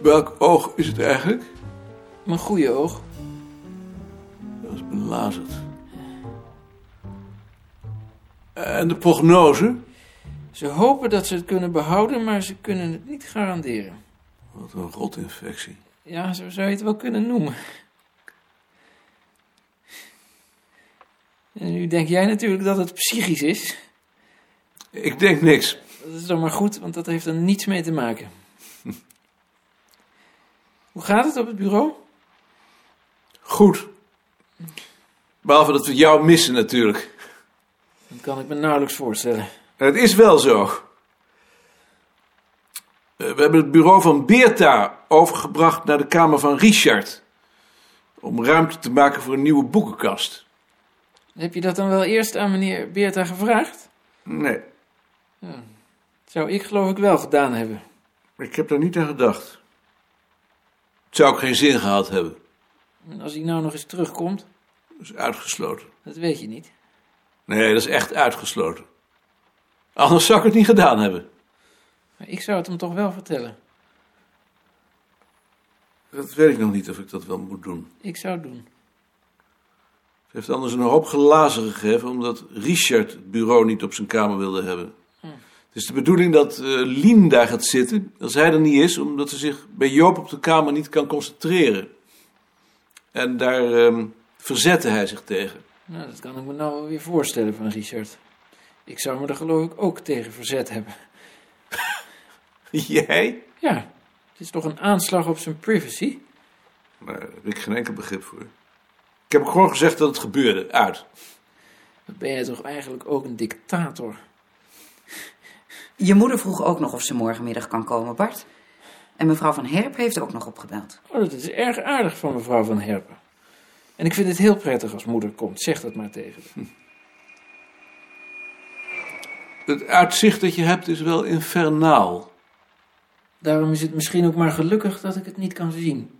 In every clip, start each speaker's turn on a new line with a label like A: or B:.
A: Welk oog is het eigenlijk?
B: Mijn goede oog.
A: Dat is belazerd. En de prognose?
B: Ze hopen dat ze het kunnen behouden, maar ze kunnen het niet garanderen.
A: Wat een rotinfectie.
B: Ja, zo zou je het wel kunnen noemen. En nu denk jij natuurlijk dat het psychisch is.
A: Ik denk niks.
B: Dat is dan maar goed, want dat heeft er niets mee te maken. Hoe gaat het op het bureau?
A: Goed. Behalve dat we jou missen natuurlijk.
B: Dat kan ik me nauwelijks voorstellen.
A: Het is wel zo. Eh, We hebben het bureau van Beerta overgebracht naar de kamer van Richard. Om ruimte te maken voor een nieuwe boekenkast.
B: Heb je dat dan wel eerst aan meneer Beerta gevraagd?
A: Nee,
B: Dat zou ik geloof ik wel gedaan hebben.
A: ik heb daar niet aan gedacht. Het zou ook geen zin gehad hebben.
B: En als hij nou nog eens terugkomt,
A: Dat is uitgesloten.
B: dat weet je niet.
A: Nee, dat is echt uitgesloten. Anders zou ik het niet gedaan hebben.
B: Maar ik zou het hem toch wel vertellen.
A: Dat weet ik nog niet of ik dat wel moet doen.
B: Ik zou het doen.
A: Ze heeft anders een hoop glazen gegeven omdat Richard het bureau niet op zijn kamer wilde hebben. Het is de bedoeling dat eh, Lien daar gaat zitten als hij er niet is, omdat ze zich bij Joop op de kamer niet kan concentreren. En daar ehm, verzette hij zich tegen.
B: Nou, dat kan ik me nou wel weer voorstellen van Richard. Ik zou me er geloof ik ook tegen verzet hebben.
A: Jij?
B: Ja, het is toch een aanslag op zijn privacy?
A: Maar daar heb ik geen enkel begrip voor. Ik heb gewoon gezegd dat het gebeurde. Uit.
B: Dan ben je toch eigenlijk ook een dictator?
C: Je moeder vroeg ook nog of ze morgenmiddag kan komen, Bart. En mevrouw van Herp heeft ook nog opgebeld.
B: Oh, dat is erg aardig van mevrouw Van Herpen. En ik vind het heel prettig als moeder komt. Zeg dat maar tegen haar.
A: Het uitzicht dat je hebt is wel infernaal.
B: Daarom is het misschien ook maar gelukkig dat ik het niet kan zien.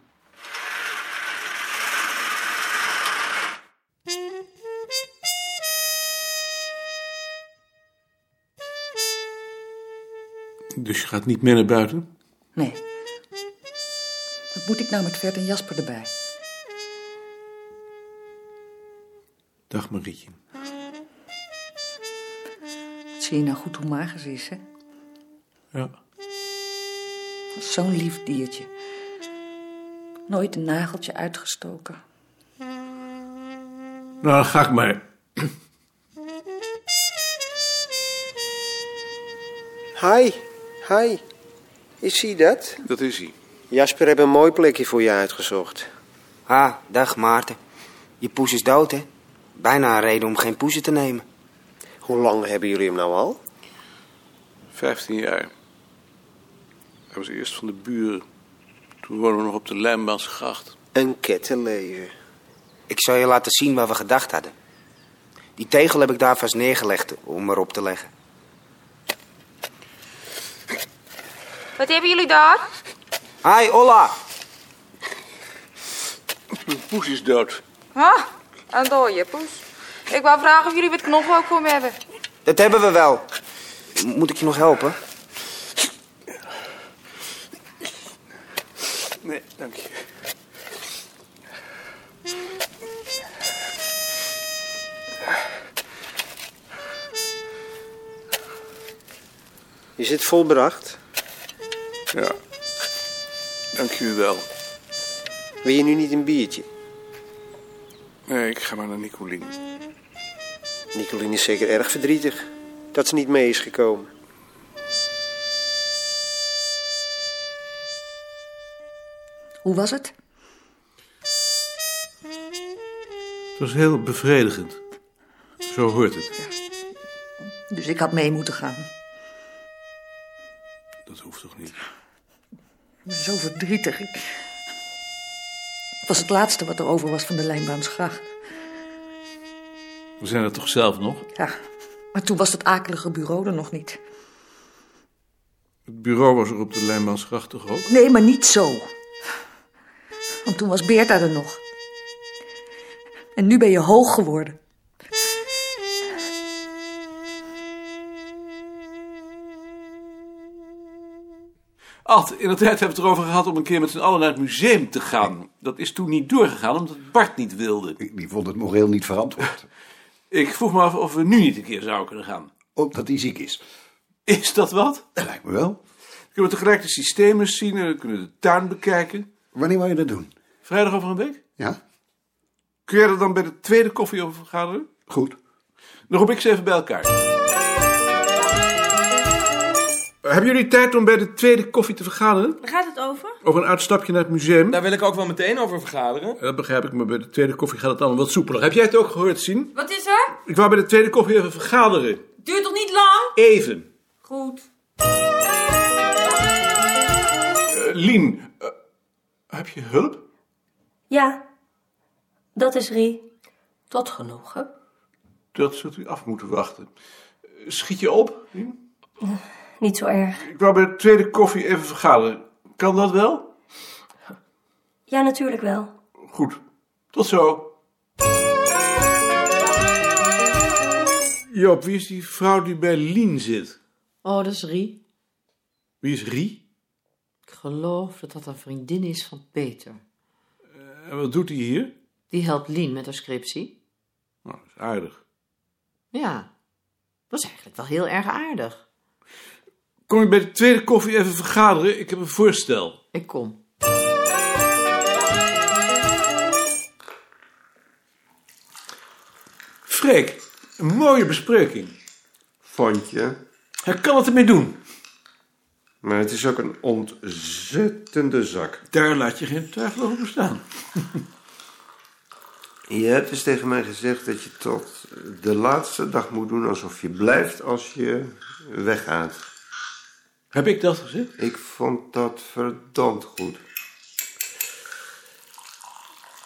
A: Dus je gaat niet meer naar buiten?
D: Nee. Wat moet ik nou met Vert en Jasper erbij?
A: Dag Marietje.
D: Zie je nou goed hoe mager ze is, hè?
A: Ja.
D: Zo'n lief diertje. Nooit een nageltje uitgestoken.
A: Nou, dan ga ik maar.
E: Hi, hi. Is hij dat?
A: Dat is hij.
E: Jasper heeft een mooi plekje voor je uitgezocht.
F: Ah, dag Maarten. Je poes is dood, hè? Bijna een reden om geen poezen te nemen.
E: Hoe lang hebben jullie hem nou al?
A: 15 jaar. Hij was eerst van de buren. Toen woonden we nog op de Lijnbaansgracht.
E: Een kettenleven.
F: Ik zal je laten zien waar we gedacht hadden. Die tegel heb ik daar vast neergelegd om erop te leggen.
G: Wat hebben jullie daar?
F: Hi, Ola.
A: Mijn poes is dood.
G: Huh? Een dode poes. Ik wou vragen of jullie wat knoppen ook voor me hebben.
F: Dat hebben we wel. M- Moet ik je nog helpen?
A: Nee, dank je.
E: Is het volbracht?
A: Ja. Dank jullie wel.
E: Wil je nu niet een biertje?
A: Nee, ik ga maar naar Nicolien.
E: Nicoline is zeker erg verdrietig dat ze niet mee is gekomen.
D: Hoe was het?
A: Het was heel bevredigend. Zo hoort het.
D: Dus ik had mee moeten gaan.
A: Dat hoeft toch niet?
D: Ik ben zo verdrietig. Ik... Het was het laatste wat er over was van de lijnbaansgracht.
A: We zijn er toch zelf nog?
D: Ja, maar toen was dat akelige bureau er nog niet.
A: Het bureau was er op de Lijnbaansgracht toch ook?
D: Nee, maar niet zo. Want toen was Beerta er nog. En nu ben je hoog geworden.
A: Ad, in de tijd hebben we het erover gehad om een keer met z'n allen naar het museum te gaan. Dat is toen niet doorgegaan, omdat Bart niet wilde.
H: Ik- Die vond het moreel niet verantwoord.
A: Ik vroeg me af of we nu niet een keer zouden kunnen gaan.
H: Ook dat hij ziek is.
A: Is dat wat?
H: Dat lijkt me wel.
A: Dan kunnen we tegelijk de systemen zien en we kunnen de tuin bekijken.
H: Wanneer wou je dat doen?
A: Vrijdag over een week?
H: Ja?
A: Kun jij er dan bij de tweede koffie over vergaderen?
H: Goed.
A: Dan roep ik ze even bij elkaar. Hebben jullie tijd om bij de tweede koffie te vergaderen?
I: Waar gaat het over?
A: Over een uitstapje naar het museum?
J: Daar wil ik ook wel meteen over vergaderen.
A: Dat begrijp ik, maar bij de tweede koffie gaat het allemaal wat soepeler. Heb jij het ook gehoord, Sien?
I: Wat is er?
A: Ik wou bij de tweede koffie even vergaderen.
I: Duurt toch niet lang?
A: Even.
I: Goed.
A: Eh, Lien, eh, heb je hulp?
K: Ja, dat is Rie. Tot genoegen.
A: Dat zult u af moeten wachten. Eh, Schiet je op, Lien?
K: Niet zo erg.
A: Ik wou bij de tweede koffie even vergaderen. Kan dat wel?
K: Ja, natuurlijk wel.
A: Goed. Tot zo. Joop, wie is die vrouw die bij Lien zit?
D: Oh, dat is Rie.
A: Wie is Rie?
D: Ik geloof dat dat een vriendin is van Peter.
A: En wat doet hij hier?
D: Die helpt Lien met haar scriptie.
A: Nou, dat is aardig.
D: Ja, dat is eigenlijk wel heel erg aardig.
A: Kom je bij de tweede koffie even vergaderen? Ik heb een voorstel.
D: Ik kom.
A: Freek, een mooie bespreking.
E: Vond je?
A: Hij kan het ermee doen.
E: Maar het is ook een ontzettende zak.
A: Daar laat je geen twijfel over bestaan.
E: Je hebt eens tegen mij gezegd dat je tot de laatste dag moet doen alsof je blijft als je weggaat.
A: Heb ik dat gezegd?
E: Ik vond dat verdomd goed.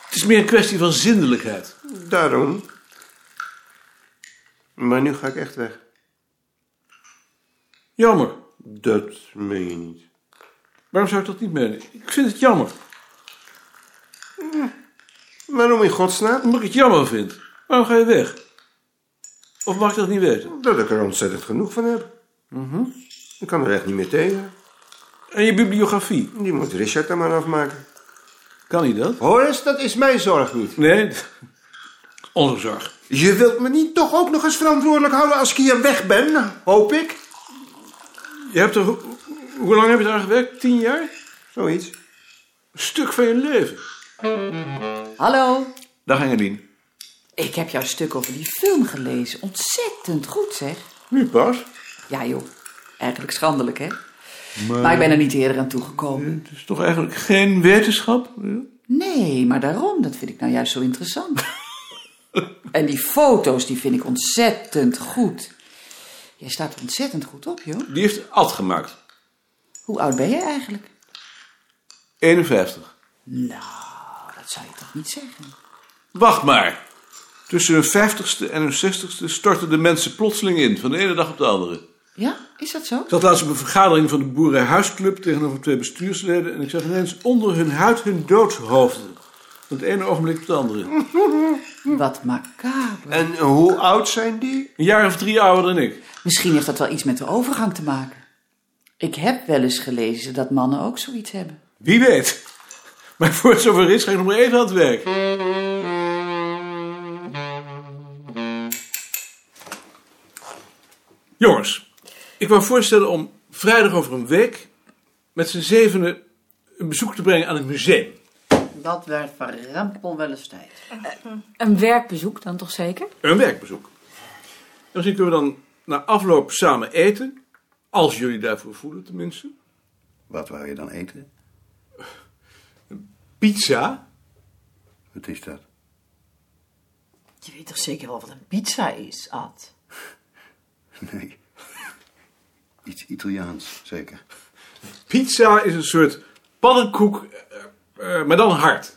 A: Het is meer een kwestie van zindelijkheid.
E: Daarom. Maar nu ga ik echt weg.
A: Jammer.
E: Dat meen je niet.
A: Waarom zou ik dat niet menen? Ik vind het jammer.
E: Waarom in godsnaam?
A: Omdat ik het jammer vind. Waarom ga je weg? Of mag ik dat niet weten?
E: Dat ik er ontzettend genoeg van heb. Mhm. Ik kan er echt niet meer tegen.
A: En je bibliografie?
E: Die moet Richard er maar afmaken.
A: Kan hij dat?
E: Horace, dat is mijn zorg niet.
A: Nee, onze zorg.
E: Je wilt me niet toch ook nog eens verantwoordelijk houden als ik hier weg ben, hoop ik?
A: Je hebt er... ho- Hoe lang heb je daar gewerkt? Tien jaar?
E: Zoiets.
A: Een stuk van je leven.
C: Hallo.
A: Dag Engelien.
C: Ik heb jouw stuk over die film gelezen. Ontzettend goed, zeg.
A: Nu pas?
C: Ja, joh. Eigenlijk schandelijk, hè? Maar ik ben er niet eerder aan toegekomen.
A: Het is toch eigenlijk geen wetenschap?
C: Nee, maar daarom. Dat vind ik nou juist zo interessant. en die foto's, die vind ik ontzettend goed. Jij staat er ontzettend goed op, joh.
A: Die heeft Ad gemaakt.
C: Hoe oud ben je eigenlijk?
A: 51.
C: Nou, dat zou je toch niet zeggen?
A: Wacht maar. Tussen hun vijftigste en hun zestigste storten de mensen plotseling in, van de ene dag op de andere.
C: Ja, is dat zo?
A: Ik zat laatst op een vergadering van de Boerenhuisclub tegenover twee bestuursleden en ik zag ineens onder hun huid hun doodshoofden. Van het ene ogenblik op het andere. Een
C: Wat macaber.
E: En hoe oud zijn die?
A: jaar of drie ouder dan ik.
C: Misschien heeft dat wel iets met de overgang te maken. Ik heb wel eens gelezen dat mannen ook zoiets hebben.
A: Wie weet. Maar voor het zover is, ga ik nog maar even aan het werk. Jongens, ik wou voorstellen om vrijdag over een week met z'n zevenen een bezoek te brengen aan het museum.
D: Dat werd van Rempel wel eens tijd.
I: Een werkbezoek dan toch zeker?
A: Een werkbezoek. En misschien kunnen we dan na afloop samen eten. Als jullie daarvoor voelen, tenminste.
H: Wat wou je dan eten?
A: Pizza.
H: Wat is dat?
D: Je weet toch zeker wel wat een pizza is, Ad?
H: Nee. Iets Italiaans, zeker.
A: Pizza is een soort pannenkoek, eh, eh, maar dan hard.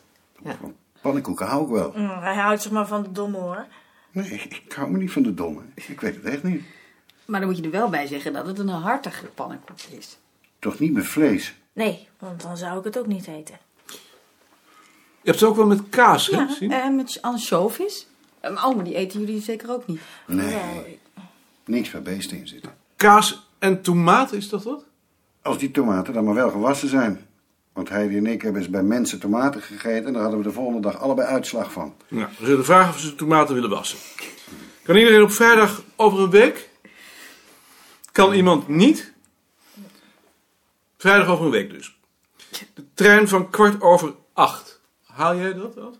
H: Pannenkoeken hou ik wel.
I: hij houdt zich maar van de domme hoor.
H: Nee, ik hou me niet van de domme. Ik weet het echt niet.
I: Maar dan moet je er wel bij zeggen dat het een hartige pannenkoek is.
H: Toch niet met vlees.
I: Nee, want dan zou ik het ook niet eten.
A: Je hebt het ook wel met kaas, hè? Sien?
D: En met anchovies? Oh, maar die eten jullie zeker ook niet.
H: Nee. Niks waar beesten in zitten.
A: Kaas en tomaat, is dat wat?
H: Als die tomaten dan maar wel gewassen zijn. Want Heidi en ik hebben eens bij mensen tomaten gegeten... en daar hadden we de volgende dag allebei uitslag van.
A: Nou, we zullen vragen of ze de tomaten willen wassen. Kan iedereen op vrijdag over een week? Kan iemand niet? Vrijdag over een week dus. De trein van kwart over acht. Haal jij dat, Ad?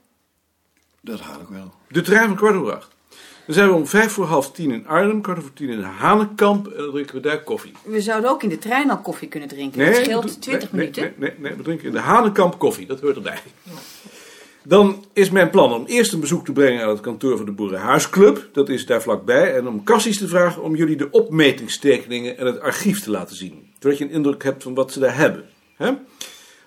H: Dat haal ik wel.
A: De trein van kwart over acht. Dan zijn we om vijf voor half tien in Arnhem, kwart over tien in Hanenkamp en dan drinken we daar koffie.
I: We zouden ook in de trein al koffie kunnen drinken. Het
A: we
I: scheelt
A: doen-
I: 20
A: nee,
I: minuten.
A: Nee, nee, nee, we drinken in de Hanenkamp koffie, dat hoort erbij. Dan is mijn plan om eerst een bezoek te brengen aan het kantoor van de Boerenhuisclub. Dat is daar vlakbij. En om Cassis te vragen om jullie de opmetingstekeningen en het archief te laten zien. Zodat je een indruk hebt van wat ze daar hebben. Hè?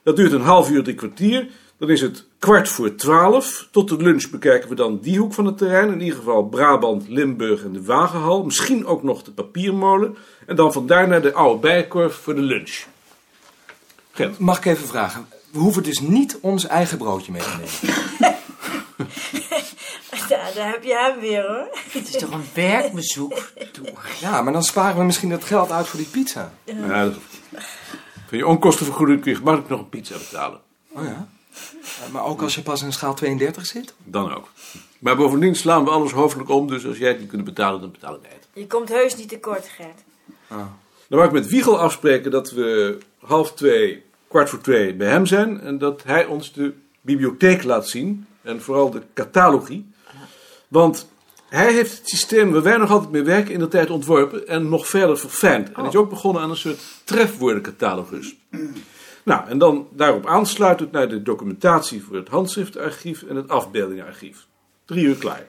A: Dat duurt een half uur, drie kwartier. Dan is het kwart voor twaalf. Tot de lunch bekijken we dan die hoek van het terrein. In ieder geval Brabant, Limburg en de Wagenhal. Misschien ook nog de papiermolen. En dan vandaar naar de oude bijenkorf voor de lunch.
L: Mag ik even vragen? We hoeven dus niet ons eigen broodje mee te nemen.
K: Daar, daar heb je hem weer hoor.
D: Het is toch een werkbezoek? Doe.
L: Ja, maar dan sparen we misschien dat geld uit voor die pizza.
A: Ja, dat hoeft niet. Van je onkostenvergoeding kun je gemakkelijk nog een pizza betalen.
L: Oh ja. Eh, Maar ook als je pas in schaal 32 zit?
A: Dan ook. Maar bovendien slaan we alles hoofdelijk om, dus als jij het niet kunt betalen, dan betaal ik het.
K: Je komt heus niet tekort, Gert.
A: Dan wou ik met Wiegel afspreken dat we half twee, kwart voor twee bij hem zijn. En dat hij ons de bibliotheek laat zien. En vooral de catalogie. Want hij heeft het systeem waar wij nog altijd mee werken in de tijd ontworpen. En nog verder verfijnd. En is ook begonnen aan een soort trefwoordencatalogus. Nou, en dan daarop aansluitend naar de documentatie voor het handschriftenarchief en het afbeeldingenarchief. Drie uur klaar.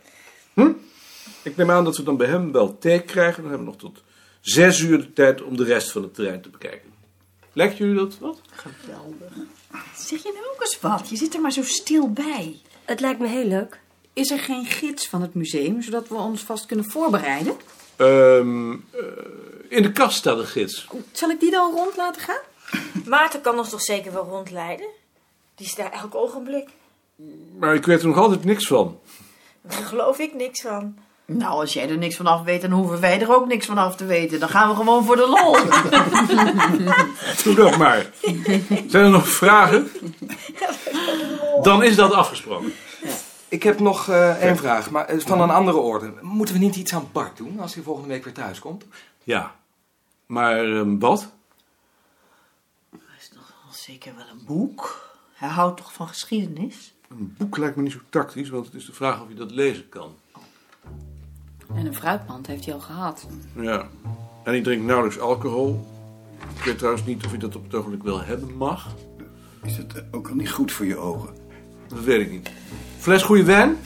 A: Hm? Ik neem aan dat we dan bij hem wel thee krijgen. Dan hebben we nog tot zes uur de tijd om de rest van het terrein te bekijken. Lijkt jullie dat wat?
D: Geweldig. Zeg je nou ook eens wat? Je zit er maar zo stil bij.
K: Het lijkt me heel leuk.
D: Is er geen gids van het museum, zodat we ons vast kunnen voorbereiden?
A: Ehm, eh, in de kast staat een gids.
D: Zal ik die dan rond laten gaan?
K: Maarten kan ons toch zeker wel rondleiden? Die is daar elk ogenblik.
A: Maar ik weet er nog altijd niks van.
K: Daar geloof ik niks van.
D: Nou, als jij er niks van af weet, dan hoeven wij er ook niks van af te weten. Dan gaan we gewoon voor de lol.
A: Doe dat maar. Zijn er nog vragen? Dan is dat afgesproken.
L: Ik heb nog eh, één vraag, maar eh, van een andere orde. Moeten we niet iets aan Bart doen als hij volgende week weer thuis komt?
A: Ja. Maar ehm, wat?
D: Zeker wel een boek. Hij houdt toch van geschiedenis?
A: Een boek lijkt me niet zo tactisch, want het is de vraag of je dat lezen kan.
I: En een fruitmand heeft hij al gehad.
A: Ja. En ik drink nauwelijks alcohol. Ik weet trouwens niet of je dat op het ogenblik wel hebben mag.
H: Is het eh, ook al niet goed voor je ogen?
A: Dat weet ik niet. Fles goede wijn?